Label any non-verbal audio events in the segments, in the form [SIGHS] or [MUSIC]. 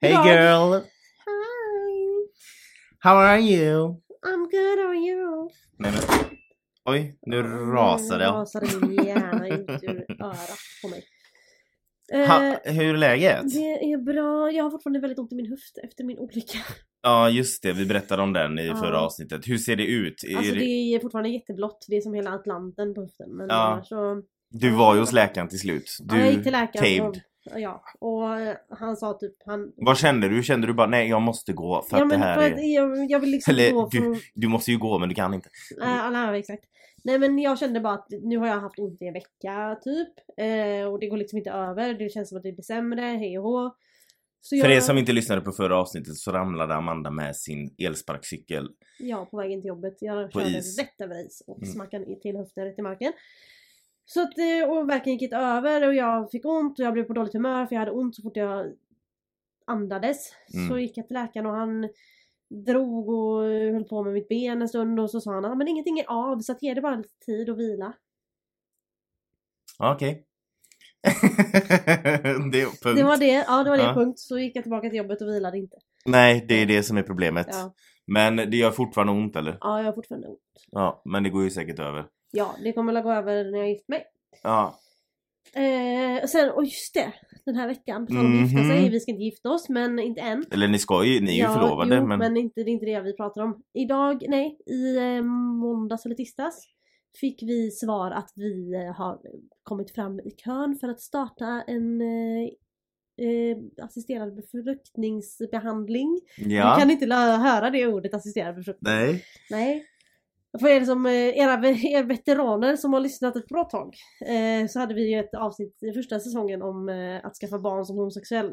Hey, No. girl. Hi. How are you? I'm good, how are you? Nej, men... Oj, nu Mm, rasade Nu jag. rasade min hjärna ut ur örat på mig. Eh, Ha, hur är läget? det är bra. Jag har fortfarande väldigt ont i min höft efter min olycka. Ja, just det. Vi berättade om den i Ja. förra avsnittet. Hur ser det ut? Är Alltså det- det är fortfarande jätteblått. Det är som hela Atlanten på höften. Men Ja. annars så... Du var ju hos läkaren till slut. Du ja, jag gick till läkaren. caved. Och, ja, och eh, han sa typ... Han, Vad kände du? Kände du bara nej, jag måste gå för ja, att det men här för är... att jag, jag vill liksom Eller gå från... Du måste ju gå men du kan inte. Nej, Eh, ja, nej, exakt. Nej men jag kände bara att nu har jag haft ont i en vecka typ. Eh, och det går liksom inte över. Det känns som att det blir sämre, hej och hå. Så För er som inte lyssnade på förra avsnittet så ramlade Amanda med sin elsparkcykel. Ja, på vägen till jobbet. Jag På körde is. rätt över is och Mm. smackade i- till höften rätt i marken. Så att, eh, och verken gick inte över och jag fick ont och jag blev på dåligt humör för jag hade ont så fort jag andades. Så Mm. gick jag till läkaren och han drog och höll på med mitt ben en stund och så sa han "Ah, men ingenting är av så att ge det bara lite tid och vila. Ja, Okej. [LAUGHS] det är punkt. Det var det, ja det var det Ja. punkt. Så gick jag tillbaka till jobbet och vilade inte. Nej, det är det som är problemet. Ja, Men det gör fortfarande ont eller? ja jag har fortfarande ont. Ja, men det går ju säkert över. Ja, det kommer väl gå över när jag gift mig. Ja, Eh, och sen, och just det! Den här veckan, på tal om att gifta sig. Mhm. Vi ska inte gifta oss, men inte än. eller ni ska ju, ni är ju Ja, förlovade jo, men... men inte, det är inte det vi pratar om. Idag, nej, i eh, måndags eller tisdags fick vi svar att vi eh, har kommit fram i kön för att starta en eh, eh, assisterad befruktningsbehandling. Ja. Du kan inte lö- höra det ordet assisterad befruktning. Nej. Nej. För er, som, eh, era, er veteraner som har lyssnat ett bra tag eh, så hade vi ju ett avsnitt i första säsongen om eh, att skaffa barn som homosexuell.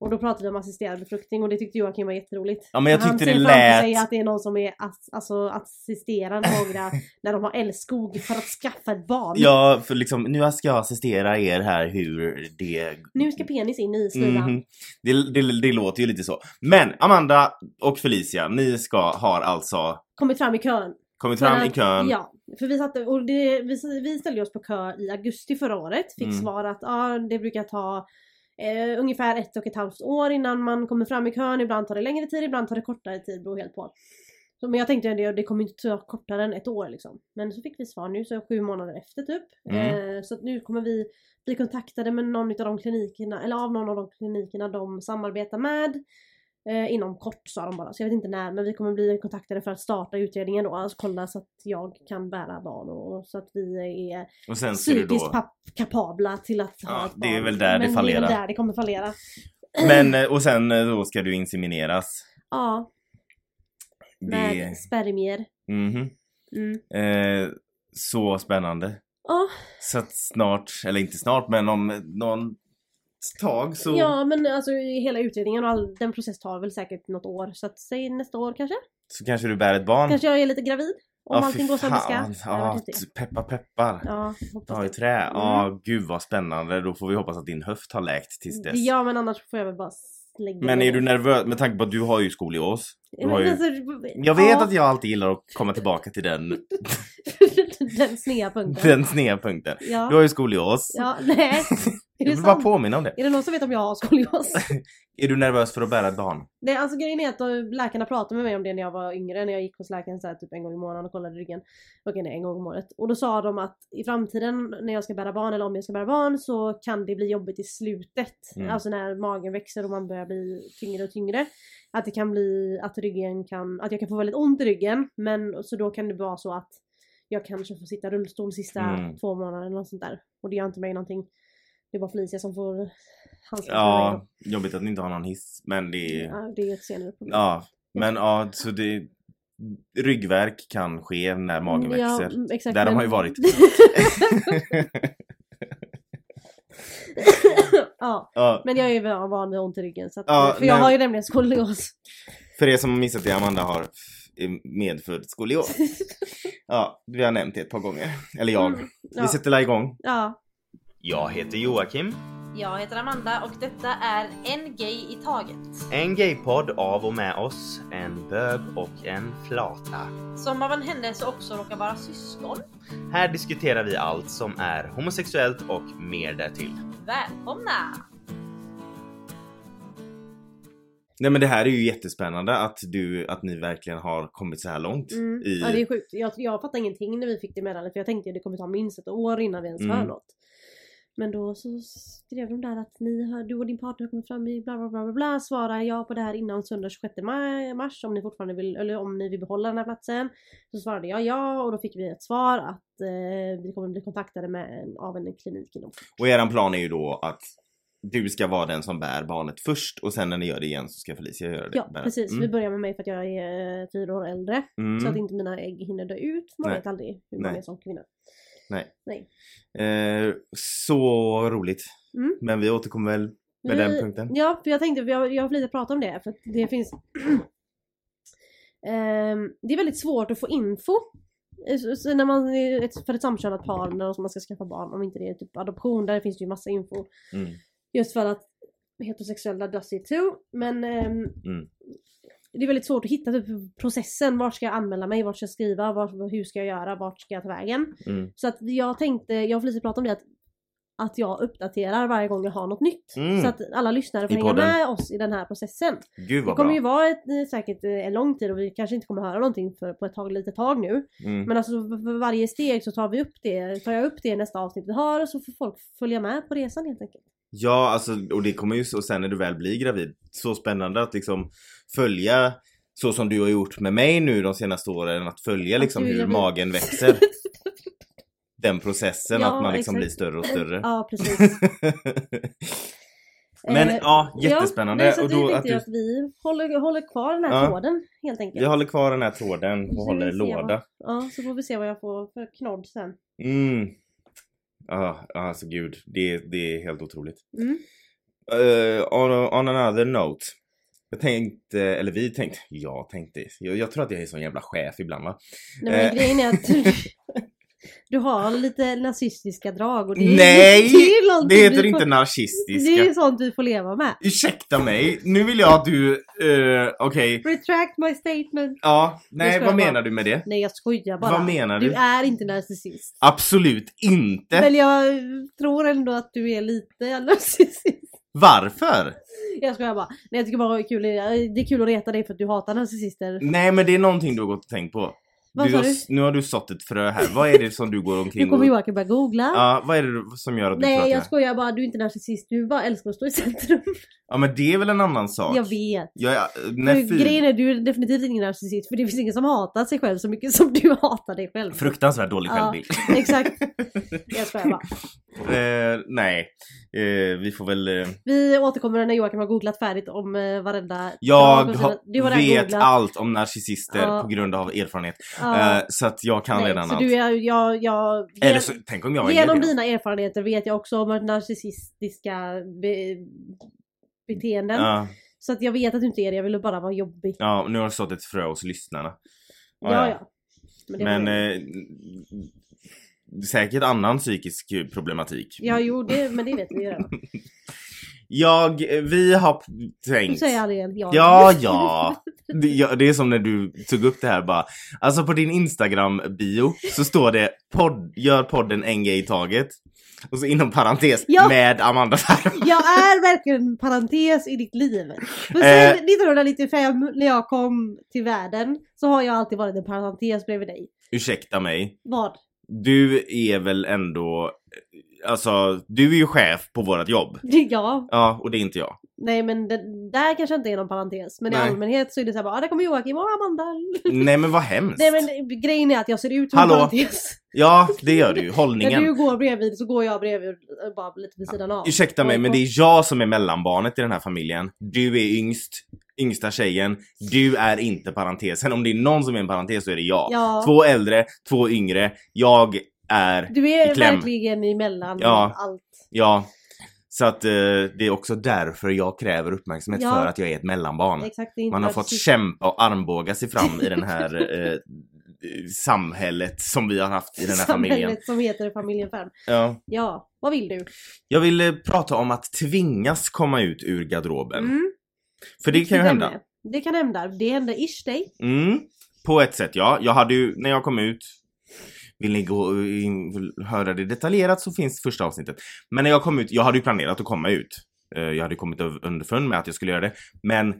Och då pratade vi om assisterad befruktning och det tyckte Joakim var jätteroligt. Ja men jag Han tyckte ser det framför lät... sig att det är någon som är ass, alltså, assisterar några när de har älskog för att skaffa ett barn. Ja, för liksom nu ska jag assistera er här hur det Nu ska penis in i slidan. Mhm. Det, det, det låter ju lite så. Men Amanda och Felicia, ni ska, har alltså Kommit fram i kön. kommit För fram i att- kön. Ja, för vi, satte, och det, vi, vi ställde oss på kö i augusti förra året. Fick Mm. svar att ah, det brukar ta eh, ungefär ett och ett halvt år innan man kommer fram i kön. Ibland tar det längre tid, ibland tar det kortare tid. Beror helt på. Så, men jag tänkte att det, det kommer inte ta kortare än ett år liksom. Men så fick vi svar nu, så sju månader efter typ. Mm. Eh, så att nu kommer vi bli kontaktade med någon av de klinikerna, eller av någon av de klinikerna de samarbetar med. Eh, inom kort sa de bara, så jag vet inte när men vi kommer bli kontaktade för att starta utredningen då. Alltså kolla så att jag kan bära barn och så att vi är Och sen ska du psykiskt då... pap- kapabla till att ha Ja, ett barn. det är väl där det men det är fallerar. väl där det kommer fallera. Men eh, och sen eh, då ska du insemineras. Ja, med Det... spermier. Mhm. Mm. Eh, så spännande. Ja, Så att snart, eller inte snart men om eh, någon tag så... ja, men alltså hela utredningen och all, den process tar väl säkert något år. Så att säg nästa år kanske. Så kanske du bär ett barn? Kanske jag är lite gravid. Om Ja, fy allting går som det ska. fan. Det hade varit Ja, typ. häftigt. peppar peppar. ja, Mm. hoppas Ja, i det. trä. Ja, gud vad spännande. Då får vi hoppas att din höft har läkt tills dess. Ja men annars får jag väl bara lägga Men ner är du nervös? Med tanke på att du har ju skolios. Du [LAUGHS] Men har ju... alltså, Jag vet ja, att jag alltid gillar att komma tillbaka till den, [LAUGHS] den sneda [LAUGHS] punkten. den sneda punkten. ja. Du har ju skolios. ja, nej. Är jag det vill bara sant? påminna om det. Är det någon som vet om jag har skolios? Är du nervös för att bära ett barn? Nej alltså grejen är att eh, läkarna pratade med mig om det när jag var yngre när jag gick hos läkaren så här, typ en gång i månaden och kollade ryggen. Okej nej en gång om året. Och då sa de att i framtiden när jag ska bära barn eller om jag ska bära barn så kan det bli jobbigt i slutet. Mm. Alltså när magen växer och man börjar bli tyngre och tyngre. Att det kan bli att ryggen kan, att jag kan få väldigt ont i ryggen men så då kan det vara så att jag kanske får sitta i rullstol sista Mm. två månaderna eller något sånt där. Och det gör inte mig någonting. Det är bara Felicia som får handskas med mig Ja, jobbigt att ni inte har någon hiss. Men det då. är... Ja, det är ett senare problem. Ja. Mm. Men ja, så det... Ryggverk kan ske när magen växer. mm, exakt, Där har men- man ju varit. [LAUGHS] ja, ja, men jag är ju van- van vid ont i ryggen. Så att, Ja, för jag nej. har ju nämligen skolios. För er som har missat det, Amanda har f- medfödd [LAUGHS] skolios. Ja, vi har nämnt det ett par gånger. Eller jag. Mm, Vi ja, sätter la igång. ja. Jag heter Joakim. Jag heter Amanda och detta är En Gay i Taget. En gaypodd av och med oss, en bög och en flata. Som av en händelse också råkar vara syskon. Här diskuterar vi allt som är homosexuellt och mer därtill. Välkomna! Nej men det här är ju jättespännande att du, att ni verkligen har kommit så här långt. Mm. I- Ja det är sjukt. Jag, jag fattar ingenting när vi fick det meddelandet för jag tänkte ju det kommer ta minst ett år innan vi ens hör Mm. något. Men då så skrev de där att ni har, du och din partner har kommit fram i bla bla bla bla bla. Svara ja på det här innan söndag 26 ma- mars om ni fortfarande vill, eller om ni vill behålla den här platsen. Så svarade jag ja och då fick vi ett svar att eh, vi kommer bli kontaktade med en, av en klinik inom Och eran plan är ju då att du ska vara den som bär barnet först och sen när ni gör det igen så ska Felicia göra det. Ja Bära. precis, vi Mm. börjar med mig för att jag är eh, fyra år äldre. Mm. Så att inte mina ägg hinner dö ut. Man Nej. vet aldrig hur man Nej. är som kvinna. Eh, så roligt. Mm. Men vi återkommer väl med den Vi- punkten. Ja, för jag tänkte, jag, jag har lite pratat om det, för att det finns... [CLEARS THROAT] Ehm, det är väldigt svårt att få info. eh, Så, så när man är ett, för ett samkönat par, när man ska skaffa barn, om inte det är typ adoption, där finns det ju massa info. Mm. Just för att heterosexuella does it too. Men ehm, Mm. det är väldigt svårt att hitta typ, processen. Vart ska jag anmäla mig? Vart ska jag skriva? Vart, hur ska jag göra? Vart ska jag ta vägen? Mm. Så att jag tänkte, jag och Felicia pratade om det att, att jag uppdaterar varje gång jag har något nytt. Mm. Så att alla lyssnare får I hänga podden. med oss i den här processen. Gud Det vad kommer bra. ju vara ett, eh, säkert eh, en lång tid och vi kanske inte kommer höra någonting för, på ett tag, litet tag nu. Mm. Men alltså för för varje steg så tar vi upp det, tar jag upp det i nästa avsnitt vi har och så får folk följa med på resan helt enkelt. Ja alltså och det kommer ju så och sen när du väl blir gravid. Så spännande att liksom följa så som du har gjort med mig nu de senaste åren. Att följa Att liksom du är hur gravid. magen [LAUGHS] växer. Den processen Ja, att man liksom blir exakt. större och större. Ja precis. [LAUGHS] Men Eh, ja, Ja, jättespännande. nej, så och att då vi att tänkte du, att vi håller, håller kvar den här Ja. tråden helt enkelt. jag håller kvar den här tråden Så och får vi håller se låda. Ja, så får vi se vad jag får för knodd sen. Mm. Ah, alltså gud, det, det är helt otroligt. Mm. Eh, on, on another note. Jag tänkte, eller vi tänkte, jag tänkte, jag, jag tror att jag är sån jävla chef ibland va? Nej men Eh. grejen är att [LAUGHS] du, du har lite nazistiska drag och det Nej! är [LAUGHS] det är någonting Det heter du inte får, Det narcissistiska. är sånt du får leva med. Ursäkta mig, nu vill jag att du, eh, okej, Retract my statement. ja, nej ska vad jag menar du med det? Nej jag skojar bara. Vad menar du? Du är inte narcissist. Absolut inte! Men jag tror ändå att du är lite [LAUGHS] narcissist. Varför? Jag skojar bara. Nej jag tycker bara det är kul, Eh, det är kul att reta dig för att du hatar narcissister. Nej men det är någonting du har gått och tänkt på. Vad Du sa har, du? s- nu har du sått ett frö här, vad är det som du går [LAUGHS] Nu omkring kommer och... Joakim börja googla. Ja, vad är det du- som gör att du tror Nej att jag... jag skojar bara, du är inte narcissist, du bara älskar att stå i centrum. [LAUGHS] Ja men det är väl en annan sak? Jag vet. Jag är, nej, För fy- grejen är du är definitivt ingen narcissist för det finns ingen som hatar sig själv så mycket som [LAUGHS] du hatar dig [LAUGHS] själv. Fruktansvärt dålig Ja. självbild. Exakt. [LAUGHS] Jag skojar bara. [LAUGHS] Eh, nej, eh, vi får väl... Eh, Vi återkommer när Joakim har googlat färdigt om eh, varenda... jag drag och har- sina- Du har redan vet googlat. allt om narcissister Ja. på grund av erfarenhet. Ja. Eh, så att jag kan Nej, redan så allt. du är, jag, jag, Eller så, tänk om jag var genom det. dina erfarenheter vet jag också om att narcissistiska be, beteenden. Ja, Så att jag vet att du inte är det, jag ville bara vara jobbig. ja, nu har du sått ett frö hos lyssnarna. Ja, Ja, ja. ja. Men, det var Men det. eh, säkert annan psykisk problematik. Ja, jo, det, men det vet vi ju [LAUGHS] redan. Jag, eh, vi har Du tänkt... säger aldrig ja. Ja, ja. Det, ja. det är som när du tog upp det här bara. Alltså på din Instagram-bio så står det podd, gör podden en grej i taget. Och så inom parentes Ja. med Amanda Ferm. Jag är verkligen en parentes i ditt liv. Men Eh. sen 1995 när jag kom till världen så har jag alltid varit en parentes bredvid dig. Ursäkta mig. Vad? [LAUGHS] Du är väl ändå, alltså du är ju chef på vårat jobb. Ja, Ja, och det är inte jag. nej men det där kanske inte är någon parentes. Men Nej. i allmänhet så är det såhär bara, ah, där kommer Joakim och Amanda. Nej men vad hemskt. Nej men grejen är att jag ser ut som en Hallå? parentes. [LAUGHS] Ja, det gör du ju. När Hållningen. du går bredvid så går jag bredvid eh, bara lite vid sidan av. Ursäkta mig men det är jag som är mellanbarnet i den här familjen. Du är yngst, yngsta tjejen. Du är inte parentesen. Om det är någon som är en parentes så är det jag. Ja. Två äldre, två yngre. Jag är, Du är i kläm. verkligen emellan Ja. allt. ja. Så att eh, det är också därför jag kräver uppmärksamhet Ja. för att jag är ett mellanbarn. Exakt, det är inte Mm. Man har fått narcissism. kämpa och armbåga sig fram i den här eh, eh, samhället som vi har haft i den här familjen. Samhället som heter familjen Färm. Ja. Ja, vad vill du? Jag vill eh, prata om att tvingas komma ut ur garderoben. Mm. För det kan ju Vilket hända. ämne. Det kan hända. Det hände ish dig. Mm, på ett sätt ja. Jag hade ju, när jag kom ut, vill ni gå in, vill höra det detaljerat så finns första avsnittet. Men när jag kom ut, jag hade ju planerat att komma ut. Eh, Jag hade kommit över- underfund med att jag skulle göra det. Men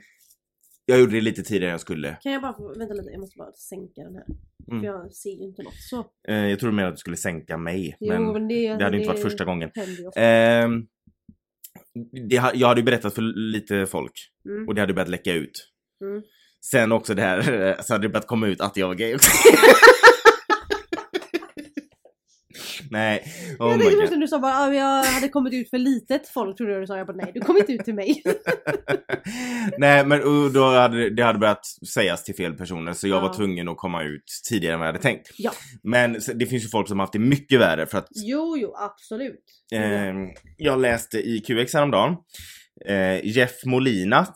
Jag gjorde det lite tidigare än jag skulle. Kan jag bara få, vänta lite, jag måste bara sänka den här. Mm. För jag ser ju inte något så. Eh, jag tror mer att du skulle sänka mig. Jo, men men det, det hade ju inte varit första gången. händer ju ofta. Ehm, det, ha- jag hade ju berättat för lite folk Mm. och det hade börjat läcka ut. Mm. Sen också det här, [LAUGHS] eh, så hade det börjat komma ut att jag var gay [LAUGHS] också. Nej, oh jag my tänkte god. [LAUGHS] först när du sa bara "Ah, jag hade kommit ut för litet folk trodde jag du sa. Jag bara nej du kom inte ut till mig. Nej men och då hade det- det hade börjat sägas till fel personer så jag Ja. var tvungen att komma ut tidigare än vad jag hade tänkt. Ja. Men så- det finns ju folk som har haft det mycket värre för att jo jo absolut. ehm, jag läste i QX häromdagen. Eh, Jeff Molina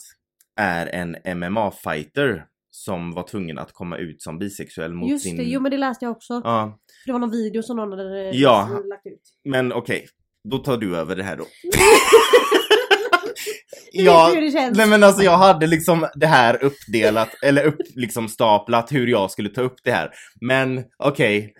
är en MMA-fighter som var tvungen att komma ut som bisexuell mot Just sin... det, jo men det läste jag också. Ja. För det var någon video som någon hade eh, Ja. lagt ut. Men okej, då tar du över det här då. Du vet ju hur [LAUGHS] det känns. Nej men alltså jag hade liksom det här uppdelat, eller upp, liksom staplat hur jag skulle ta upp det här. Men okej.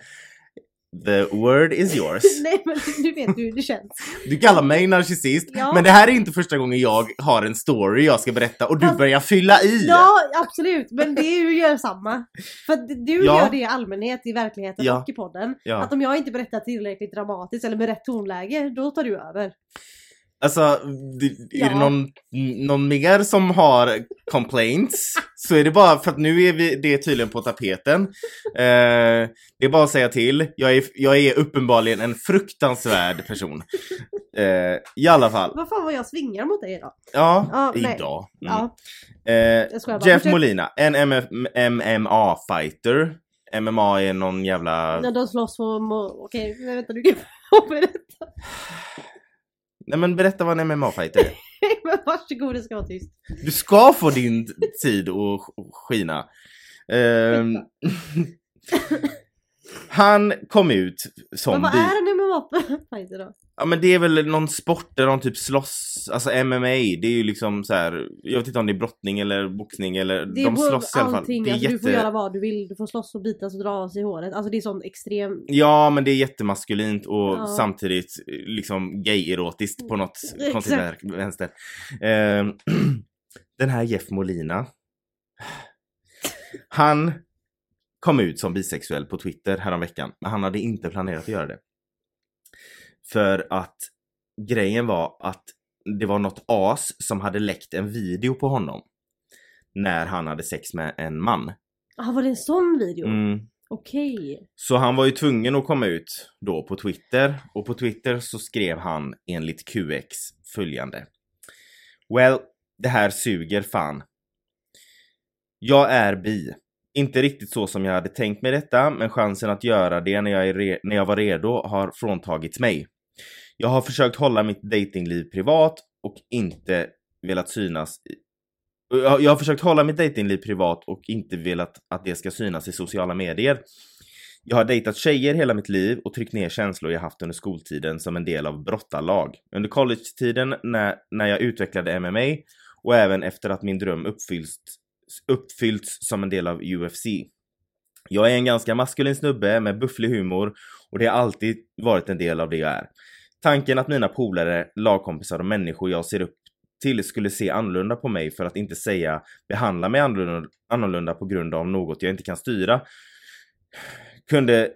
The word is yours. [LAUGHS] [LAUGHS] nej men du vet ju hur det känns. Du kallar mig narcissist, Ja. men det här är inte första gången jag har en story jag ska berätta och du Fast- börjar fylla [LAUGHS] i. Ja absolut men det är ju gör samma. För att du Ja. gör det i allmänhet i verkligheten Ja. och i podden. Ja. Att om jag inte berättar tillräckligt dramatiskt eller med rätt tonläge då tar du över. Alltså, det, är det Ja. någon, någon mer som har complaints så är det bara för att nu är vi, det är tydligen på tapeten. Eh, det är bara att säga till. Jag är, jag är uppenbarligen en fruktansvärd person. Eh, I alla fall. Vad fan vad jag svingar mot dig Mm. idag. Ja, Ja, nej. idag. Mm. Ja, Eh, jag skojar bara. Jeff Fortsätt. Molina, en MMA-fighter. MMA är någon jävla... När de slåss på... mo- Okej, men vänta du kan hoppa i det. Nej men berätta vad en MMA-fighter är. [LAUGHS] Men varsågod, det ska vara tyst. Du ska få din tid att sk- skina. Ehm, [LAUGHS] han kom ut som Men vad bi. är en [LAUGHS] MMA-fighter då? Ja men det är väl någon sport där de typ slåss, alltså MMA, det är ju liksom så här. jag vet inte om det är brottning eller boxning eller, Det är de på slåss i alla fall. allting, Det är alltså, Du får jätte- göra vad du vill, du får slåss och bitas och dra sig i håret. Alltså det är sån extrem... Ja men det är jättemaskulint och Ja. samtidigt eh, liksom gay-erotiskt på något Mm, Exakt. konstigt vär- vänster. Ehm, [CLEARS THROAT] den här Jeff Molina. [SIGHS] Han kom ut som bisexuell på Twitter häromveckan. Men han hade inte planerat att göra det. För att grejen var att det var något as som hade läckt en video på honom. När han hade sex med en man. Ah, var det en sån video? Mm. Okej. Så han var ju tvungen att komma ut då på Twitter och på Twitter så skrev han enligt QX följande. Well, det här suger fan. Jag är bi. Inte riktigt så som jag hade tänkt mig detta, men chansen att göra det när jag, är re- när jag var redo har fråntagits mig. Jag har försökt hålla mitt datingliv privat och inte velat synas i- jag jag har försökt hålla mitt datingliv privat och inte velat att det ska synas i sociala medier. Jag har dejtat tjejer hela mitt liv och tryckt ner känslor jag haft under skoltiden som en del av brottarlag. Under collegetiden när, när jag utvecklade MMA och även efter att min dröm uppfyllts, uppfyllts som en del av UFC. Jag är en ganska maskulin snubbe med bufflig humor och det har alltid varit en del av det jag är. Tanken att mina polare, lagkompisar och människor jag ser upp till skulle se annorlunda på mig för att inte säga behandla mig annorlunda- annorlunda på grund av något jag inte kan styra kunde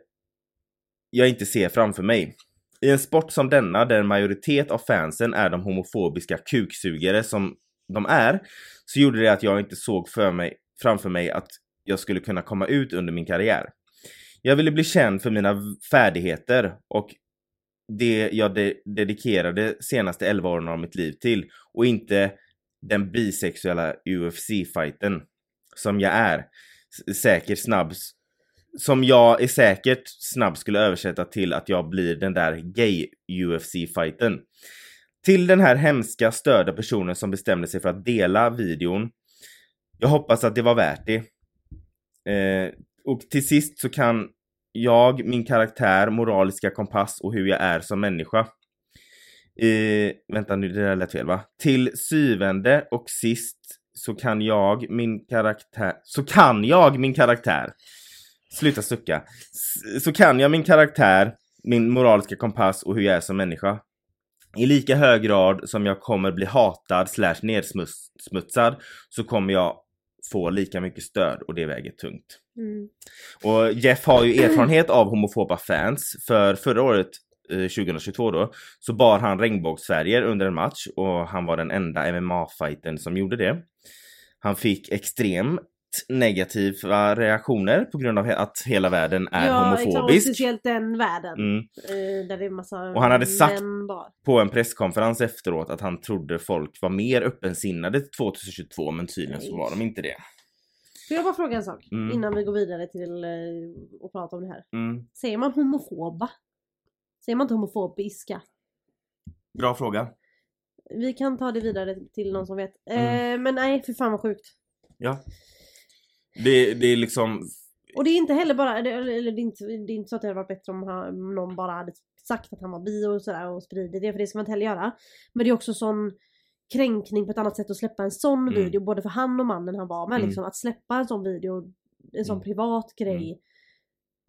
jag inte se framför mig. I en sport som denna, där en majoritet av fansen är de homofobiska kuksugare som de är, så gjorde det att jag inte såg för mig, framför mig att jag skulle kunna komma ut under min karriär. Jag ville bli känd för mina färdigheter och det jag de- dedikerade senaste 11 åren av mitt liv till och inte den bisexuella UFC-fighten som jag är. S- Säker, snabb, s- som jag är säkert snabbt skulle översätta till att jag blir den där gay UFC-fighten. Till den här hemska störda personen som bestämde sig för att dela videon. Jag hoppas att det var värt det. Eh, och till sist så kan jag, min karaktär, moraliska kompass och hur jag är som människa. Eh, vänta nu, det där lät fel va? Till syvende och sist så kan jag, min karaktär, så kan jag min karaktär Sluta sucka. S- Så kan jag min karaktär, min moraliska kompass och hur jag är som människa. I lika hög grad som jag kommer bli hatad slash nedsmutsad så kommer jag får lika mycket stöd och det väger tungt. Mm. Och Jeff har ju erfarenhet av homofoba fans för förra året eh, 2022 då, så bar han regnbågsfärger under en match och han var den enda MMA-fighten som gjorde det. Han fick extremt negativa reaktioner på grund av he- att hela världen är exakt, och Äh, homofobisk. speciellt den världen. Mm. eh, Där det är massa Och han hade sagt- män bara. På en presskonferens efteråt att han trodde folk var mer öppensinnade 2022 men tydligen så Nej. var de inte det. Får jag bara fråga en sak Mm. innan vi går vidare till eh, att prata om det här. Mm. Säger man homofoba? Säger man inte homofobiska? Bra fråga. Vi kan ta det vidare till någon som vet. Mm. Eh, men nej, för fan vad sjukt. Ja. Det, det är liksom Och det är inte heller bara, eller, eller det, är inte, det är inte så att det hade varit bättre om han, någon bara hade sagt att han var bi och sådär och spridit det, för det ska man inte heller göra. Men det är också sån kränkning på ett annat sätt att släppa en sån Mm. video, både för han och mannen han var med Mm. liksom. Att släppa en sån video, en sån Mm. privat grej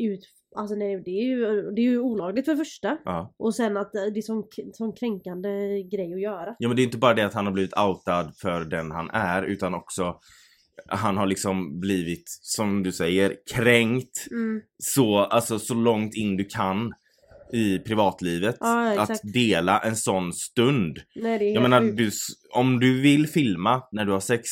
ut, alltså nej det är ju, det är ju olagligt för det första. Ja. Och sen att eh, det är sån, sån kränkande grej att göra. ja men det är inte bara det att han har blivit outad för den han är utan också han har liksom blivit som du säger kränkt Mm. så, alltså, så långt in du kan i privatlivet. Ja, exakt. att dela en sån stund. Nej det är Jag helt menar sjukt. du, s- om du vill filma när du har sex,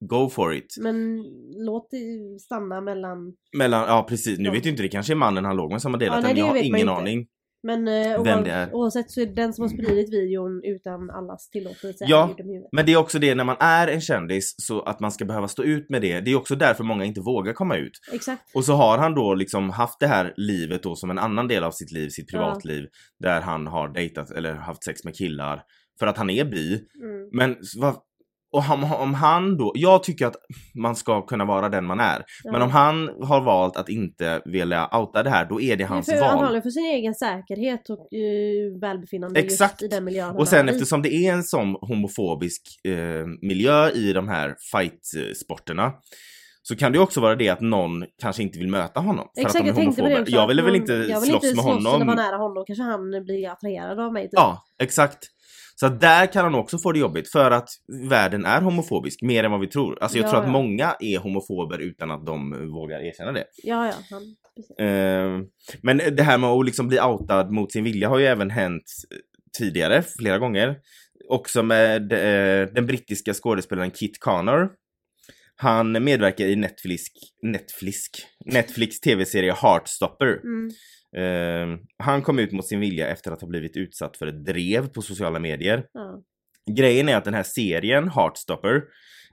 go for it. Men låt det stanna mellan... Mellan, ja precis, nu Ja. vet ju inte det kanske är mannen han låg med som har delat Ja, nej, den. Jag det har vet man ingen inte. aning. Men eh, Vem oav- det är. Mm. oavsett så är det den som har spridit videon utan allas tillåtelse. Ja. är ju dum i huvudet. Men det är också det när man är en kändis så att man ska behöva stå ut med det. Det är också därför många inte vågar komma ut. Exakt. Och så har han då liksom haft det här livet då som en annan del av sitt liv, sitt Ja. privatliv. Där han har dejtat eller haft sex med killar. För att han är bi. Mm. Men s- vad... Och om, om han då, jag tycker att man ska kunna vara den man är. Ja. Men om han har valt att inte vilja outa det här, då är det Det är hans för, val. Antagligen för sin egen säkerhet och eh, välbefinnande Exakt. just i den miljön Mm. han Och sen är i. eftersom det är en sån homofobisk eh, miljö i de här fight-sporterna så kan det ju också vara det att någon kanske inte vill möta honom. För att Exakt, de är jag tänkte på det homofober. också, Jag att ville väl man- inte jag vill slåss inte med slåss eller honom. vara nära honom, kanske han blir attraherad av mig. Typ. Ja, exakt. Så att där kan han också få det jobbigt för att världen är homofobisk mer än vad vi tror. Alltså jag Ja, tror att ja. många är homofober utan att de vågar erkänna det. ja, ja han, precis. Eh, men det här med att liksom bli outad mot sin vilja har ju även hänt eh, tidigare, flera gånger. Också med eh, den brittiska skådespelaren Kit Connor. Han medverkar i Netflix, Netflix, Netflix tv-serie Heartstopper. Mm. Eh, han kom ut mot sin vilja efter att ha blivit utsatt för ett drev på sociala medier. Ja. Grejen är att den här serien, Heartstopper,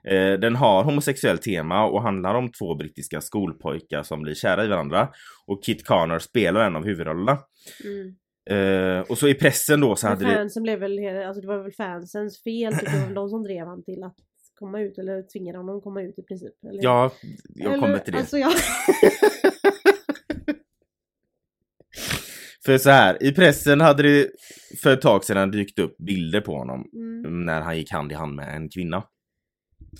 eh, den har homosexuellt tema och handlar om två brittiska skolpojkar som blir kära i varandra. Och Kit Connor spelar en av huvudrollerna. Mm. Eh, och så i pressen då så Men hade det... fansen blev väl, he- alltså det var väl fansens fel, typ, det var väl de som drev han till att komma ut eller tvingade honom att komma ut i princip. Eller? Ja, jag Eller, kommer till det. Alltså jag... För så här, i pressen hade det för ett tag sedan dykt upp bilder på honom [LAUGHS] mm. när han gick hand i hand med en kvinna.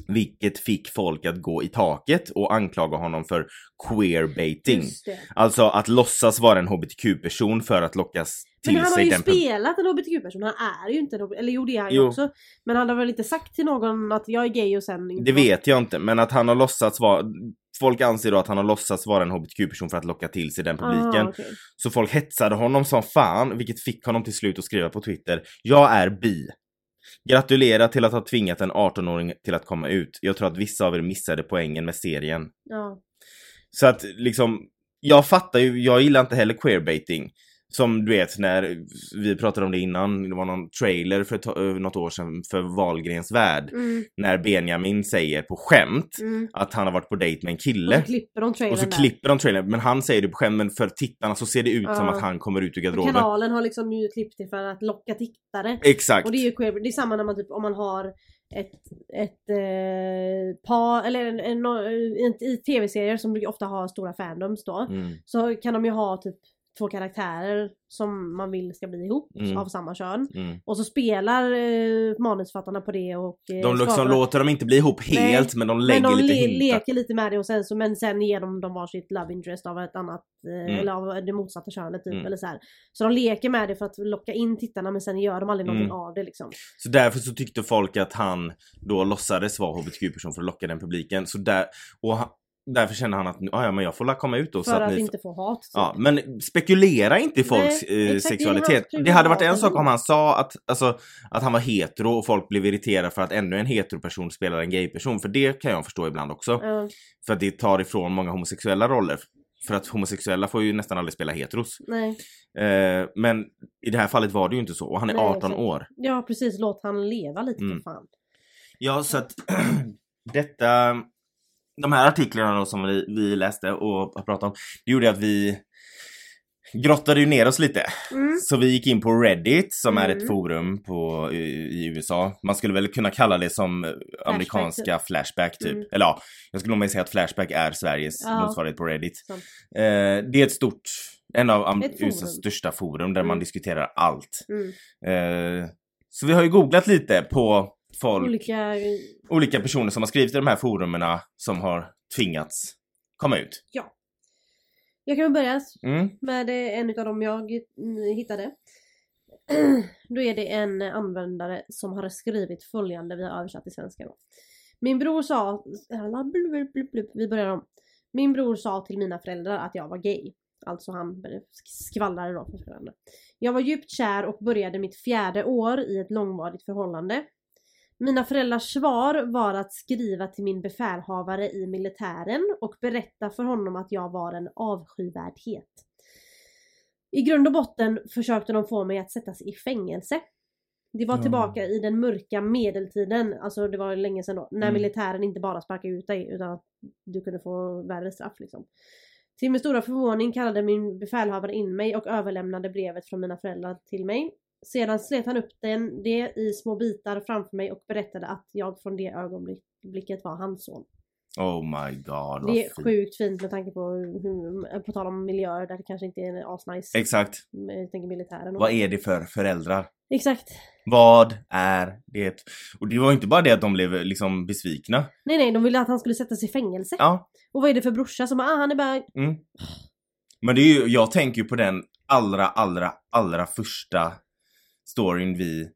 Vilket fick folk att gå i taket och anklaga honom för queerbaiting. Just det. Alltså att låtsas vara en hbtq-person för att lockas till Men han har sig ju den pub- spelat en hbtq-person, han är ju inte en hbtq, eller jo det är han ju Jo. också. Men han har väl inte sagt till någon att jag är gay och sen inte Det varit- vet jag inte, men att han har låtsats vara... Folk anser då att han har låtsats vara en hbtq-person för att locka till sig den publiken. Ah, okej. Så folk hetsade honom som fan, vilket fick honom till slut att skriva på Twitter “Jag är bi”. Gratulerar till att ha tvingat en 18-åring till att komma ut. Jag tror att vissa av er missade poängen med serien. Ja. Så att liksom, jag fattar ju, jag gillar inte heller queerbaiting. Som du vet när vi pratade om det innan, det var någon trailer för ett ta- eh, något år sedan för Wahlgrens värld. Mm, När Benjamin säger på skämt mm. att han har varit på dejt med en Och kille. så klipper de trailern Och så klipper de trailern, men han säger det på skämt, men för tittarna så ser det ut som Ja. att han kommer ut ur där. Och garderoben. Kanalen har liksom ju klippt det för att locka tittare. Exakt. Och det är ju queer, det är samma när man typ, om man har ett, ett eh, par, eller en, en, en, i tv-serier som brukar ofta ha stora fandoms då. Mm. Så kan de ju ha typ två karaktärer som man vill ska bli ihop Mm. av samma kön. Mm. Och så spelar eh, manusfattarna på det och... Eh, De liksom skapar- låter dem inte bli ihop Nej, helt men de lägger men de lite le- hintar. leker lite med det och sen så, men sen ger de dem varsitt love interest av ett annat, eh, Mm. eller av det motsatta könet typ Mm. eller så här. Så de leker med det för att locka in tittarna men sen gör de aldrig någonting Mm. av det liksom. Så därför så tyckte folk att han då låtsades vara hbtq-person för att locka den publiken. Så där, och han, därför kände han att "Ah, ja, men jag får la komma ut då. så för att, ni inte få hat. typ. Ja, men spekulera inte i folks Nej, eh, exakt, det är sexualitet. hans privat- Det hade varit en sak om han sa att, alltså, att han var hetero och folk blev irriterade för att ännu en heteroperson spelar en gayperson. För det kan jag förstå ibland också. Ja, För att det tar ifrån många homosexuella roller. För att homosexuella får ju nästan aldrig spela heteros. nej. Eh, men i det här fallet var det ju inte så. Och han är Nej, 18 exakt. år. ja precis, låt han leva lite Mm. för fan. Ja, så att [CLEARS THROAT] detta... De här artiklarna då som vi, vi läste och har pratat om, det gjorde att vi grottade ju ner oss lite. Mm. Så vi gick in på Reddit som är ett Mm. forum på, i, i USA. Man skulle väl kunna kalla det som eh, amerikanska Flashback typ. Mm. Eller ja, jag skulle nog mer säga att Flashback är Sveriges Ja. motsvarighet på Reddit. Sant. Eh, det är ett stort, en av am- Ett forum. USAs största forum där man Mm. diskuterar allt. Mm. Eh, så vi har ju googlat lite på folk, olika. Olika, personer som har skrivit i de här forumerna som har tvingats komma ut. jag kan väl börja Mm. med eh, en av dem jag mm, hittade. [CLEARS THROAT] Då är det en användare som har skrivit följande, vi har översatt till svenska då. Min bror sa... "Äh, Vi börjar om. Min bror sa till mina föräldrar att jag var gay. Alltså han började- skvallrade då för föräldrarna. Jag var djupt kär och började mitt fjärde år i ett långvarigt förhållande. Mina föräldrars svar var att skriva till min befälhavare i militären och berätta för honom att jag var en avskyvärdhet. I grund och botten försökte de få mig att sättas i fängelse. Det var Ja. tillbaka i den mörka medeltiden, alltså det var länge sedan då, när Mm. militären inte bara sparkade ut dig utan att du kunde få värre straff liksom. Till min stora förvåning kallade min befälhavare in mig och överlämnade brevet från mina föräldrar till mig. Sedan slet han upp den, det i små bitar framför mig och berättade att jag från det ögonblicket var hans son. Oh my god, vad Det är fint. sjukt fint med tanke på hur, hur- på tal om miljöer där det kanske inte är asnice. Exakt. Men Jag tänker militären. och- Vad är det för föräldrar? Exakt. Vad är det? Och det var inte bara det att de blev liksom besvikna. Nej nej, de ville att han skulle sättas i fängelse. Ja. Och vad är det för brorsa som bara, ah, han är bara... Mm. Men det är ju, jag tänker ju på den allra, allra, allra första storyn vi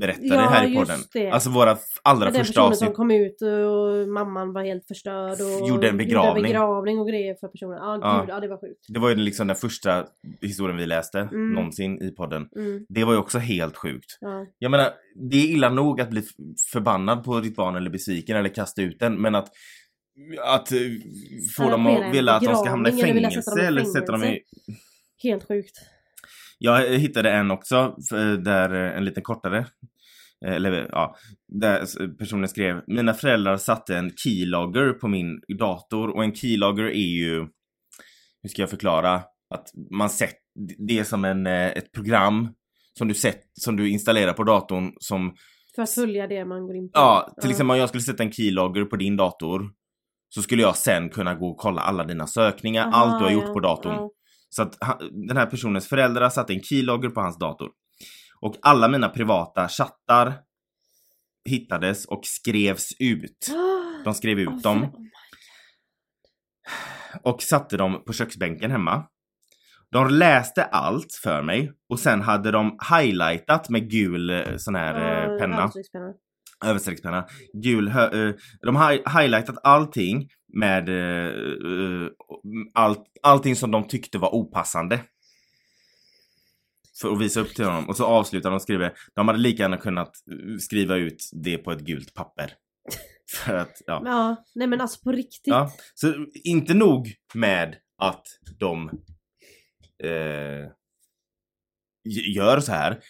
berättade här i podden. det. Alltså våra f- allra Ja, den första personen avsnitt. som kom ut och mamman var helt förstörd och Gjorde en begravning. begravning och grejer för personen. Ja Ja. gud, ja det var sjukt. Det var ju liksom den första historien vi läste Mm. någonsin i podden. Mm, Det var ju också helt sjukt. ja. Jag menar, det är illa nog att bli f- förbannad på ditt barn eller besviken eller kasta ut den, men att att eh, få Ja, dem skena att en vilja att de ska hamna i begravning eller vilja sätta fängelse dem i eller sätta dem i... fängelse. Helt sjukt. Jag eh, hittade en också, f- eh, där eh, en lite kortare. eh, Eller eh, ja, där s- personen skrev Mina föräldrar satte en keylogger på min dator och en keylogger är ju Hur ska jag förklara? Att man sett, det är som en, eh, ett program som du sett, som du installerar på datorn som För att följa det man går in på. Ja, till exempel om jag skulle sätta en keylogger på din dator så skulle jag sen kunna gå och kolla alla dina sökningar, Aha, allt du har gjort ja, på datorn. ja. Så att han, den här personens föräldrar satte en keylogger på hans dator. Och alla mina privata chattar hittades och skrevs ut. De skrev ut Åh, dem för- och satte dem på köksbänken hemma. De läste allt för mig och sen hade de highlightat med gul eh, sån här Ja, eh, penna. handstryckspenna. överstreckspenna, gul, hö, eh, de har highlightat allting med eh, eh, allt, allting som de tyckte var opassande. För att visa upp till honom. Och så avslutar de och skriver, de hade lika gärna kunnat eh, skriva ut det på ett gult papper. [LAUGHS] För att, ja. Ja, nej men alltså på riktigt. Ja, så inte nog med att de eh, g- gör så här.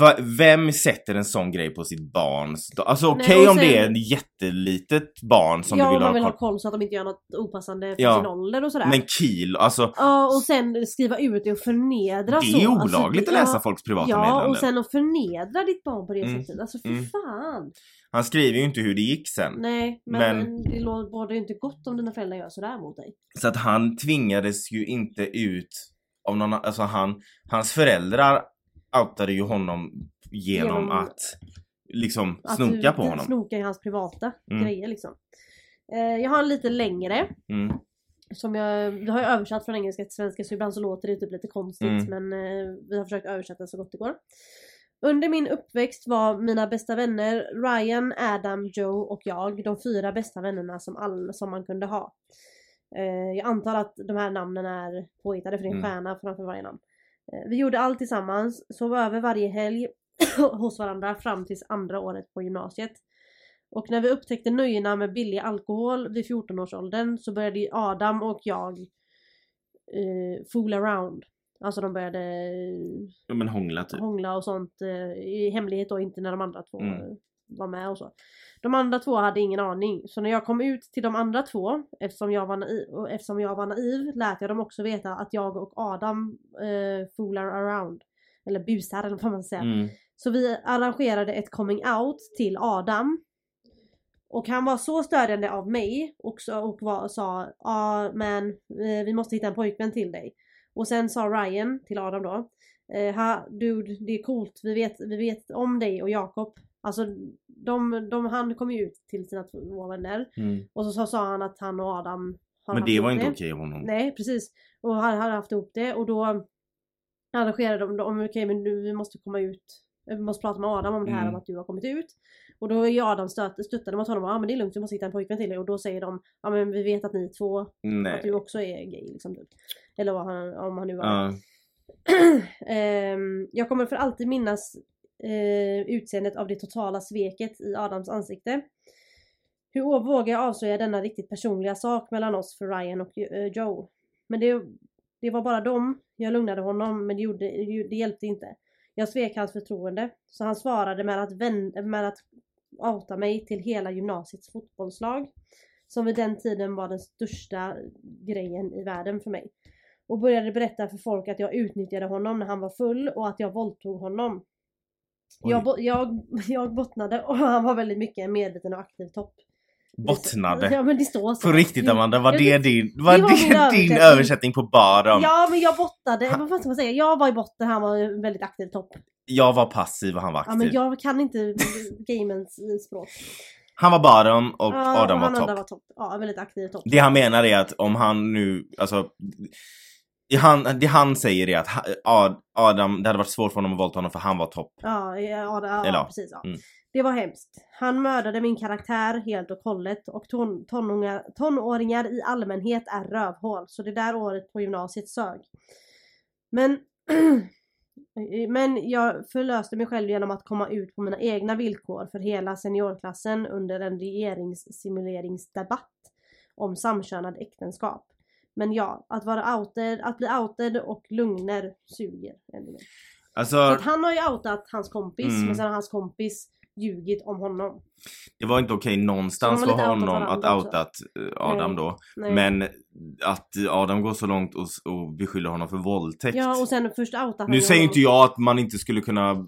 Va, vem sätter en sån grej på sitt barns... da- Alltså Nej, okej och om det är sen- ett jättelitet barn som ja, du vill man ha vill ha koll koll så att de inte gör något opassande för Ja. sin ålder och sådär. Men kil, alltså Ja, och sen skriva ut det och förnedra så. det är Alltså, olagligt det- att läsa ja, folks privata Ja, meddelanden. och sen att förnedra ditt barn på det Mm. sättet. Alltså fy Mm. fan. Han skriver ju inte hur det gick sen. Nej, men, Men- det lå- bådar ju inte gott om dina föräldrar gör sådär mot dig. Så att han tvingades ju inte ut av någon annan- alltså han, hans föräldrar outade ju honom genom, Genom- att liksom Att snoka du- på du honom. Snoka i hans privata Mm. grejer liksom. Eh, jag har en lite längre. Mm. Som jag, vi har ju översatt från engelska till svenska så ibland så låter det typ lite konstigt Mm. men eh, vi har försökt översätta så gott det går. Under min uppväxt var mina bästa vänner Ryan, Adam, Joe och jag de fyra bästa vännerna som, all, som man kunde ha. Eh, jag antar att de här namnen är påhittade för det är en Mm. stjärna framför varje namn. Eh, vi gjorde allt tillsammans, sov över varje helg [COUGHS] hos varandra fram tills andra året på gymnasiet. Och när vi upptäckte nöjena med billig alkohol vid 14-årsåldern så började ju Adam och jag eh, fool around. Alltså de började eh, Ja men hångla typ. hångla och sånt eh, i hemlighet och inte när de andra två Mm. eh, var med och så. De andra två hade ingen aning. Så när jag kom ut till de andra två, eftersom jag var naiv, och eftersom jag var naiv lät jag dem också veta att jag och Adam eh, foolar around. Eller busar eller vad man säger. Mm. Så vi arrangerade ett coming out till Adam. Och han var så stödjande av mig och, så, och var, sa ja men eh, vi måste hitta en pojkvän till dig. Och sen sa Ryan till Adam då. Eh, ha, dude det är coolt vi vet, vi vet om dig och Jakob. Alltså de, de, han kom ju ut till sina två vänner. Mm. Och så, så sa han att han och Adam har Men haft det var ihop inte okej av honom. Nej precis. Och han hade haft ihop det och då arrangerade de om okej men nu vi måste komma ut. eh, Vi måste prata med Adam om det här Mm. om att du har kommit ut. Och då är ju Adam stöt, stöttade mot honom och ah, men det är lugnt vi måste hitta en pojkvän till er. Och då säger de ja men vi vet att ni två, att Nej. du också är gay liksom. Typ. Eller vad han, om han nu var det. Ja. [CLEARS THROAT] Ehm, jag kommer för alltid minnas eh, utseendet av det totala sveket i Adams ansikte. Hur vågar jag avslöja denna riktigt personliga sak mellan oss för Ryan och eh, Joe? Men det, det var bara dem. Jag lugnade honom men det, gjorde, det hjälpte inte. Jag svek hans förtroende. Så han svarade med att, vän, med att outa mig till hela gymnasiets fotbollslag. Som vid den tiden var den största grejen i världen för mig och började berätta för folk att jag utnyttjade honom när han var full och att jag våldtog honom. Oj. Jag, bo- jag, [LAUGHS] jag bottnade och han var väldigt mycket en medveten och aktiv topp. Bottnade. [LAUGHS] Ja men det står så. På riktigt Amanda, var Jag det vet- din, var det var min det din översättning. översättning på bottom? Ja men jag bottnade, Han- vad fan ska man säga? Jag var i botten, han var en väldigt aktiv topp. Jag var passiv och han var Ja men aktiv. jag kan inte [LAUGHS] gamens språk. Han var bottom och Ja, Adam och var han andra topp. var topp. Ja, en väldigt aktiv topp. Det han menar är att om han nu, alltså det han, det han säger är att ha- Ad- Adam, det hade varit svårt för honom att våldta honom för han var topp. Ja, ja, ja, Eller ja. ja precis. Ja. Mm. Det var hemskt. Han mördade min karaktär helt och hållet och ton, tonåringar, tonåringar i allmänhet är rövhål. Så det där året på gymnasiet sög. Men, [CLEARS THROAT] men jag förlöste mig själv genom att komma ut på mina egna villkor för hela seniorklassen under en regeringssimuleringsdebatt om samkönad äktenskap. Men ja, att vara outed, att bli outed och lögner suger ännu mer. Så Alltså att han har ju outat hans kompis Mm. men sen har hans kompis ljugit om honom. det var inte okej någonstans Så för de har lite outat honom att varandra också. outat eh, Adam Nej. då. Nej. Men att Adam går så långt och, s- och beskyller honom för våldtäkt. Ja och sen först outar han nu ju säger honom. inte jag att man inte skulle kunna,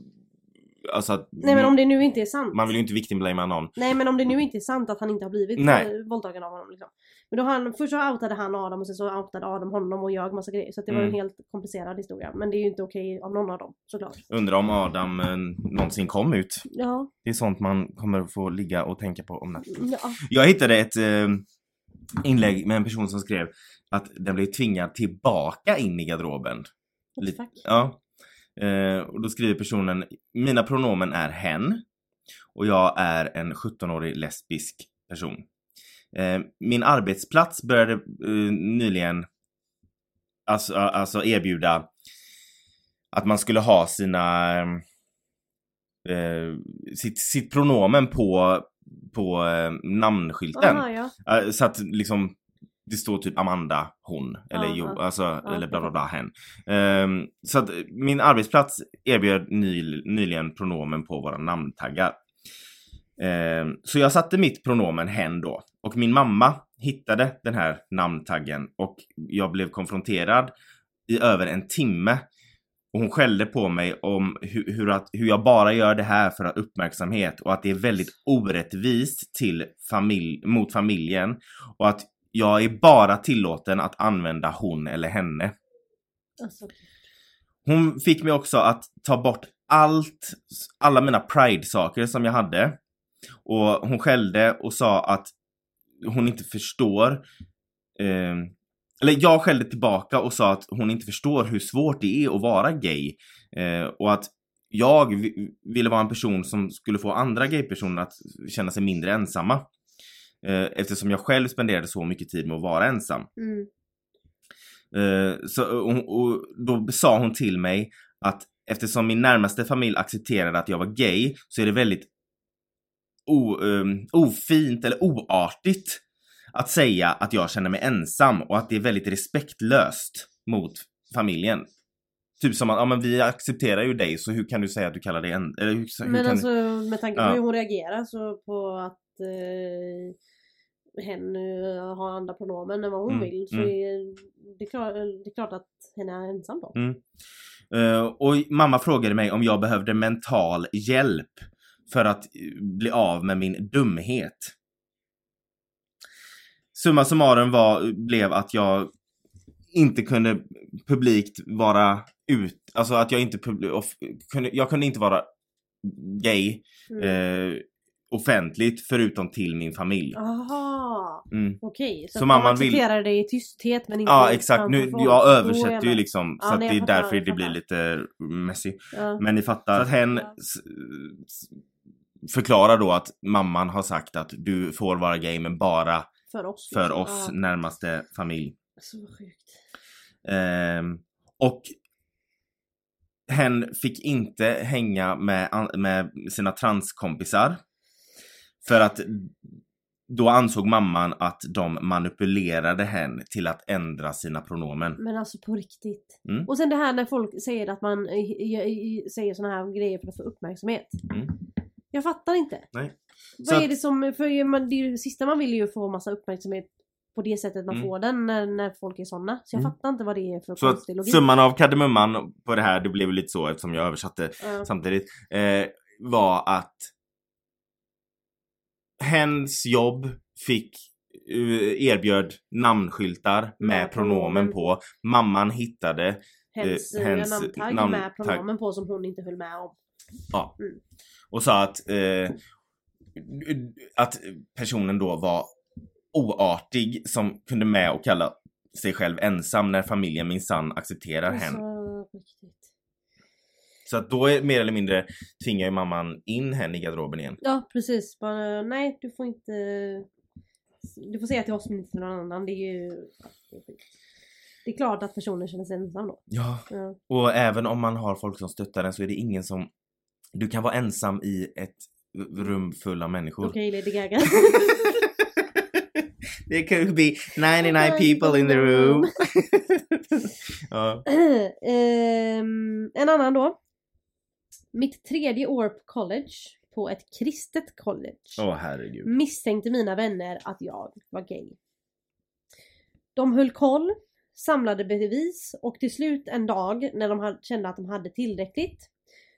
alltså att Nej men om det nu inte är sant. man vill ju inte victimblama någon. Nej men om det nu inte är sant att han inte har blivit Nej. eh, våldtagen av honom. Liksom. Men då han, först så outade han Adam och sen så outade Adam honom och jag massa grejer. Så att det var Mm. en helt komplicerad historia. Men det är ju inte okej av någon av dem såklart. Undrar om Adam eh, någonsin kom ut. Ja. Det är sånt man kommer att få ligga och tänka på om natten. ja. Jag hittade ett eh, inlägg med en person som skrev att den blev tvingad tillbaka in i garderoben. Lite- Fuck. Ja. Eh, och då skriver personen, mina pronomen är hen och jag är en 17-årig lesbisk person. Eh, min arbetsplats började eh, nyligen alltså, alltså erbjuda att man skulle ha sina eh, eh, sitt, sitt pronomen på, på eh, namnskylten. Aha, ja. Eh, Så att liksom det står typ Amanda, hon eller Ja, jo, ja. alltså Ja, eller bla bla bla hen. Ehm, så att min arbetsplats erbjöd ny, nyligen pronomen på våra namntaggar. Ehm, så jag satte mitt pronomen hen då och min mamma hittade den här namntaggen och jag blev konfronterad i över en timme Och hon skällde på mig om hur, hur, att, hur jag bara gör det här för att ha uppmärksamhet och att det är väldigt orättvist till familj, mot familjen och att jag är bara tillåten att använda hon eller henne. Alltså, Hon fick mig också att ta bort allt, alla mina pride-saker som jag hade. Och hon skällde och sa att hon inte förstår. Eh, eller jag skällde tillbaka och sa att hon inte förstår hur svårt det är att vara gay. Eh, och att jag vi- ville vara en person som skulle få andra gaypersoner att känna sig mindre ensamma. Eh, eftersom jag själv spenderade så mycket tid med att vara ensam. mm. Eh, så, och, och då sa hon till mig att eftersom min närmaste familj accepterade att jag var gay så är det väldigt o, ehm, ofint eller oartigt att säga att jag känner mig ensam och att det är väldigt respektlöst mot familjen. Typ som att, ja men vi accepterar ju dig så hur kan du säga att du kallar dig en... Eller hur, hur Men kan alltså med tanke på Ja. hur hon reagerar så på att eh, hen eh, har andra pronomen än vad hon Mm, vill så mm. är det, klart, det är klart att hen är ensam då. Mm. Eh, och mamma frågade mig om jag behövde mental hjälp för att eh, bli av med min dumhet. Summa summarum var, blev att jag inte kunde publikt vara ut, alltså att jag inte publi- off, kunde, jag kunde inte vara gay Mm. eh, offentligt förutom till min familj. Aha, Mm. okej. Så, Så att de mamman vill- accepterar det i tysthet men inte Ja exakt, framför nu, folk. jag Då är översätter ju med. liksom Ja, så att nej, det jag är fattar, därför jag det blir fattar. lite messy. Ja. Men ni fattar. Så att hen Ja. s- s- förklarar då att mamman har sagt att du får vara gay men bara För oss. för liksom. oss Ja. närmaste familj. Alltså vad sjukt. Ehm, och hen fick inte hänga med, an- med sina transkompisar. För att då ansåg mamman att de manipulerade hen till att ändra sina pronomen. Men alltså på riktigt. Mm. Och sen det här när folk säger att man eh, i- i- säger såna här grejer för att få uppmärksamhet. Mm. Jag fattar inte. Nej. Så Vad är att- det som, för man, det, är ju det sista man vill är ju få massa uppmärksamhet på det sättet man Mm. får den när, när folk är såna. Så jag Mm. fattar inte vad det är för Så att konstig logik. summan av kardemumman på det här, det blev ju lite så eftersom jag översatte Ja. samtidigt eh, var att hens jobb fick eh, erbjöd namnskyltar med pronomen på. Mamman hittade, Hens, eh, eh, hens namntagg namn- med pronomen på som hon inte höll med om. ja. Mm. Och sa att, eh, att personen då var oartig som kunde med och kalla sig själv ensam när familjen minsann accepterar hen. Alltså, på riktigt. Så att då är, mer eller mindre tvingar ju mamman in henne i garderoben igen. Ja precis, bara nej du får inte Du får säga till oss men inte till någon annan. Det är ju det är, skit. det är klart att personen känner sig ensam då. Ja, Ja. Och även om man har folk som stöttar en så är det ingen som... Du kan vara ensam i ett rum full av människor. [LAUGHS] Okej Lady Gaga. [CLEARS THROAT] There could be 99 people in the room. [LAUGHS] ja. Ehm, en annan då. Mitt tredje år på college, på ett kristet college, Åh herregud. misstänkte mina vänner att jag var gay. De höll koll, samlade bevis och till slut en dag när de hade- kände att de hade tillräckligt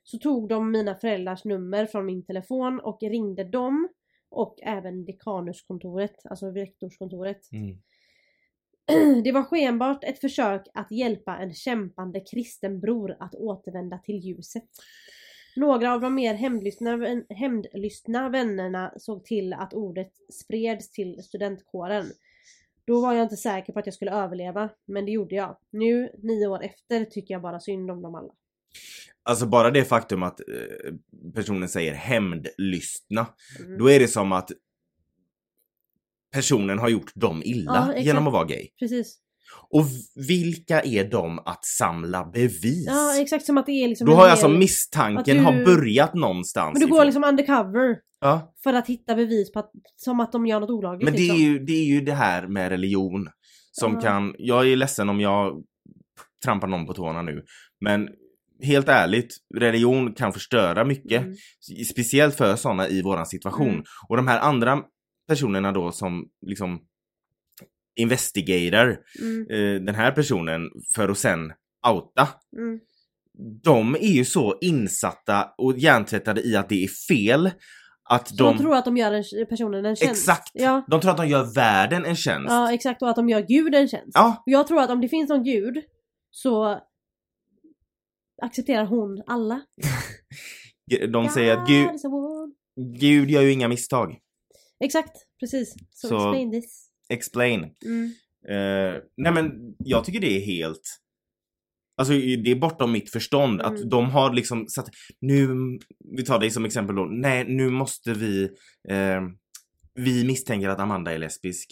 så tog de mina föräldrars nummer från min telefon och ringde dem och även dekanuskontoret, alltså rektorskontoret. Mm. [CLEARS THROAT] Det var skenbart ett försök att hjälpa en kämpande kristen bror att återvända till ljuset. Några av de mer hämndlystna, vän- hämndlystna vännerna såg till att ordet spreds till studentkåren. Då var jag inte säker på att jag skulle överleva, men det gjorde jag. Nu, nio år efter, tycker jag bara synd om dem alla. Alltså bara det faktum att eh, personen säger hämndlystna. Mm. Då är det som att personen har gjort dem Ja, illa exakt. genom att vara gay. Precis. Och vilka är de att samla bevis? Ja, exakt som att det är liksom... Då en har ju alltså hel- misstanken att du- har börjat någonstans. Men du går ifrån. liksom undercover ja. för att hitta bevis på att, som att de gör något olagligt Men det är, liksom. ju, det är ju det här med religion som Ja. kan... Jag är ledsen om jag trampar någon på tårna nu. Men helt ärligt, religion kan förstöra mycket. Mm. Speciellt för sådana i våran situation. Mm. Och de här andra personerna då som liksom investigerar Mm, eh, den här personen för att sen outa. mm. de är ju så insatta och hjärntvättade i att det är fel att Så de, de, tror att de gör en, personen en tjänst. Exakt. Ja. de tror att de gör världen en tjänst. ja, exakt. Och att de gör Gud en tjänst. Ja, Och Jag tror att om det finns någon gud så accepterar hon alla. de säger att God Gud, is a woman. Gud gör ju inga misstag. Exakt, precis. So Så- explain this. Explain. Mm. Eh, nej men jag tycker det är helt Alltså det är bortom mitt förstånd Mm. att de har liksom satt, nu, vi tar dig som exempel då, nej nu måste vi, eh, vi misstänker att Amanda är lesbisk.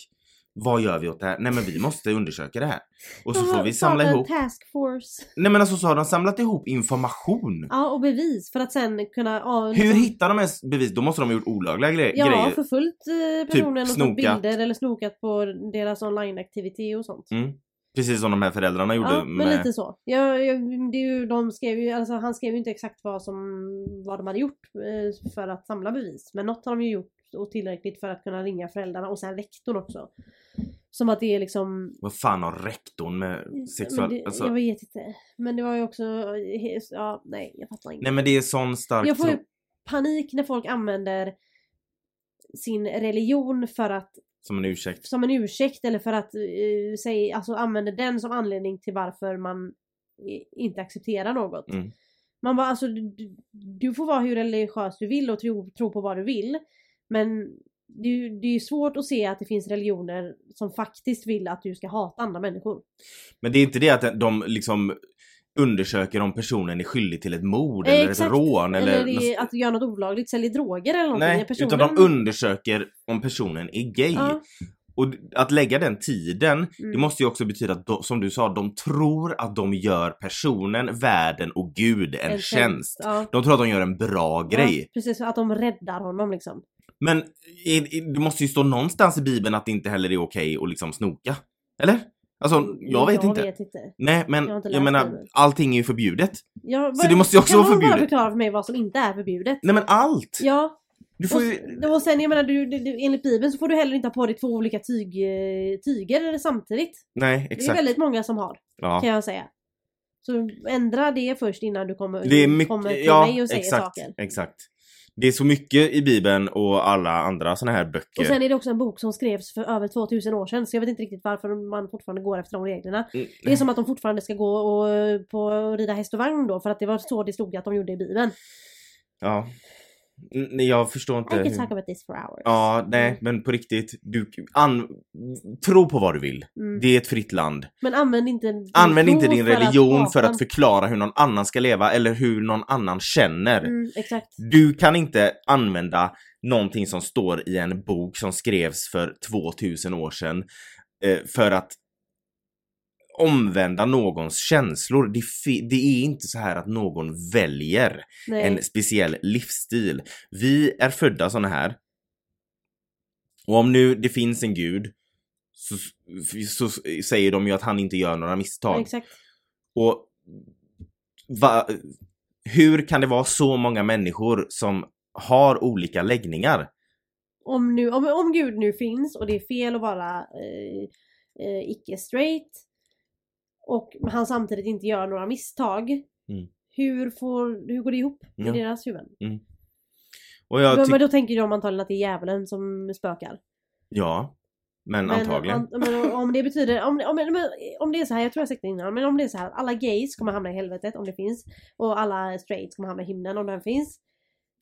Vad gör vi åt det här? Nej men vi måste undersöka det här. Och så De får har vi samla startat en ihop, task force. nej men alltså så har de samlat ihop information. Ja, och bevis för att sen kunna... Ja, Hur liksom- hittar de ens bevis? Då måste de ha gjort olagliga gre- Ja, grejer. Typ förföljt eh, personen och tagit snokat. bilder eller snokat på deras online-aktivitet och sånt. Mm. Precis som de här föräldrarna gjorde Ja, men med- lite så. Ja, ja, det är ju, de skrev ju, alltså, han skrev ju inte exakt vad, som, vad de hade gjort eh, för att samla bevis. Men något har de ju gjort och tillräckligt för att kunna ringa föräldrarna och sen rektorn också. Som att det är liksom... vad fan har rektorn med sexuell... men det, alltså, Jag vet inte. Men det var ju också... Ja, nej, jag fattar inte. Nej men det är sån stark Jag får tro. ju panik när folk använder sin religion för att, Som en ursäkt. som en ursäkt eller för att eh, säg, alltså använder den som anledning till varför man i- inte accepterar något. Mm. Man bara alltså du, du- du får vara hur religiös du vill och tro, tro på vad du vill. Men det, är ju- det är ju svårt att se att det finns religioner som faktiskt vill att du ska hata andra människor. Men det är inte det att de liksom undersöker om personen är skyldig till ett mord Eh, eller exakt. ett rån eller... Eller, det är att göra något olagligt, sälja droger eller någonting. Nej, Personen- utan de undersöker om personen är gay. Ja, Och att lägga den tiden, det mm. måste ju också betyda att de, som du sa, de tror att de gör personen, världen och gud en, tjänst. Ja. De tror att de gör en bra Ja, grej. precis, att de räddar honom liksom. Men i, i, det måste ju stå någonstans i bibeln att det inte heller är okej att liksom snoka. Eller? Alltså, jag vet inte. Mm, Jag vet inte. Nej men Jag har inte jag, läst menar Bibeln. allting är ju förbjudet. Jag, Så det måste ju också kan vara någon bara förbjudet. förklara för mig vad som inte är förbjudet? Nej men allt! Ja, Du får och, ju... s- och sen jag menar du, du, du, enligt bibeln så får du heller inte ha på dig två olika tyg, eh, tyger samtidigt. Nej Det är exakt. väldigt många som har Ja. kan jag säga. Så ändra det först innan du kommer, Det är mycket, kommer till mig ja och säger exakt, saker. exakt. Det är så mycket i bibeln och alla andra såna här böcker. Och sen är det också en bok som skrevs för över 2000 år sedan så jag vet inte riktigt varför man fortfarande går efter de reglerna. Mm, Det är som att de fortfarande ska gå och, eh, på och rida häst och vagn då för att det var så det stod att de gjorde i bibeln. Ja. Mm, Nej jag förstår inte. I could hur- talk about this for hours. Ja, Mm. nej men på riktigt. Du, an... Tro på vad du vill. Mm. Det är ett fritt land. Men använd inte din Använd tro inte din religion för skapa- att förklara hur någon annan ska leva eller hur någon annan känner. Mm, exakt. Du kan inte använda någonting som står i en bok som skrevs för 2000 år sedan eh, för att omvända någons känslor. Det, fi- det är inte så här att någon väljer Nej. en speciell livsstil. Vi är födda såna här. Och om nu det finns en gud så, så säger de ju att han inte gör några misstag. Exakt. Och va, hur kan det vara så många människor som har olika läggningar? Om, nu, om, om gud nu finns och det är fel att vara eh, eh, icke-straight och han samtidigt inte gör några misstag. Hur, får, hur går det ihop i Mm. Ja. deras huvuden? Och jag Men, men tycker... då tänker de antagligen att det är djävulen som spökar. Ja. Men, antagligen. an- men om det betyder, om, om, om, om det är så här, jag tror jag sagt det innan, men om det är så här att alla gays kommer hamna i helvetet om det finns och alla straights kommer hamna i himlen om den finns.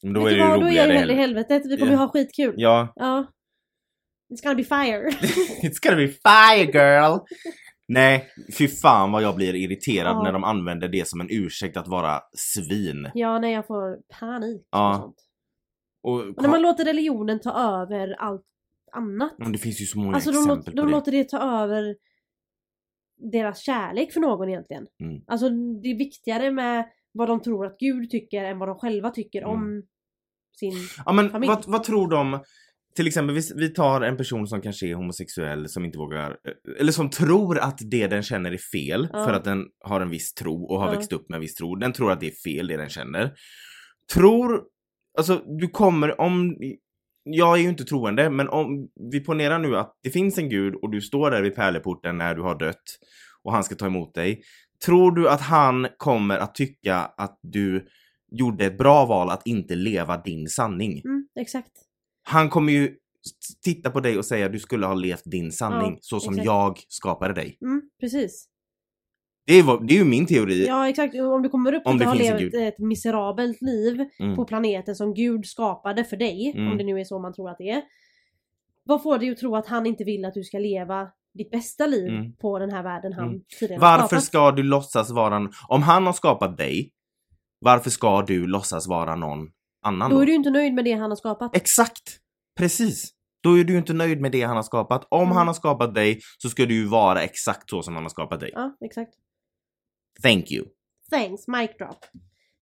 Men då Vet är det ju du vad, då är jag roligare. ju hellre i heller. helvetet, vi kommer Ja. ju ha skitkul. Ja. Ja. It's gonna be fire. [LAUGHS] It's gonna be fire girl! Nej, fy fan vad jag blir irriterad Ja. när de använder det som en ursäkt att vara svin. ja, nej jag får panik Ja. och sånt. Och, Och när man låter religionen ta över allt annat. Men Mm, det finns ju så många Alltså de, exempel låter, på de det. låter det ta över deras kärlek för någon egentligen. Mm. Alltså det är viktigare med vad de tror att Gud tycker än vad de själva tycker om sin... Mm. Ja men familj. vad, vad tror de? Till exempel vi, vi tar en person som kanske är homosexuell som inte vågar, eh, eller som tror att det den känner är fel Ja. för att den har en viss tro och har Ja. växt upp med en viss tro. Den tror att det är fel det den känner. Tror, alltså du kommer om, jag är ju inte troende men om vi ponerar nu att det finns en gud och du står där vid pärleporten när du har dött och han ska ta emot dig. Tror du att han kommer att tycka att du gjorde ett bra val att inte leva din sanning? Mm, exakt. Han kommer ju s- titta på dig och säga du skulle ha levt din sanning Ja, så som exakt. jag skapade dig. Mm, precis. Det är, vad- det är ju min teori. Ja exakt, om du kommer upp Om och det har finns en levt gud. ett miserabelt liv Mm. på planeten som Gud skapade för dig, Mm. om det nu är så man tror att det är. Vad får dig att tro att han inte vill att du ska leva ditt bästa liv Mm. på den här världen han Mm. tidigare har Varför skapat? ska du låtsas vara... n- Om han har skapat dig, varför ska du låtsas vara någon annan Då då? är du ju inte nöjd med det han har skapat. Exakt! Precis! Då är du ju inte nöjd med det han har skapat. Om Mm. han har skapat dig så ska du ju vara exakt så som han har skapat dig. Ja, exakt. Thank you. Thanks, mic drop.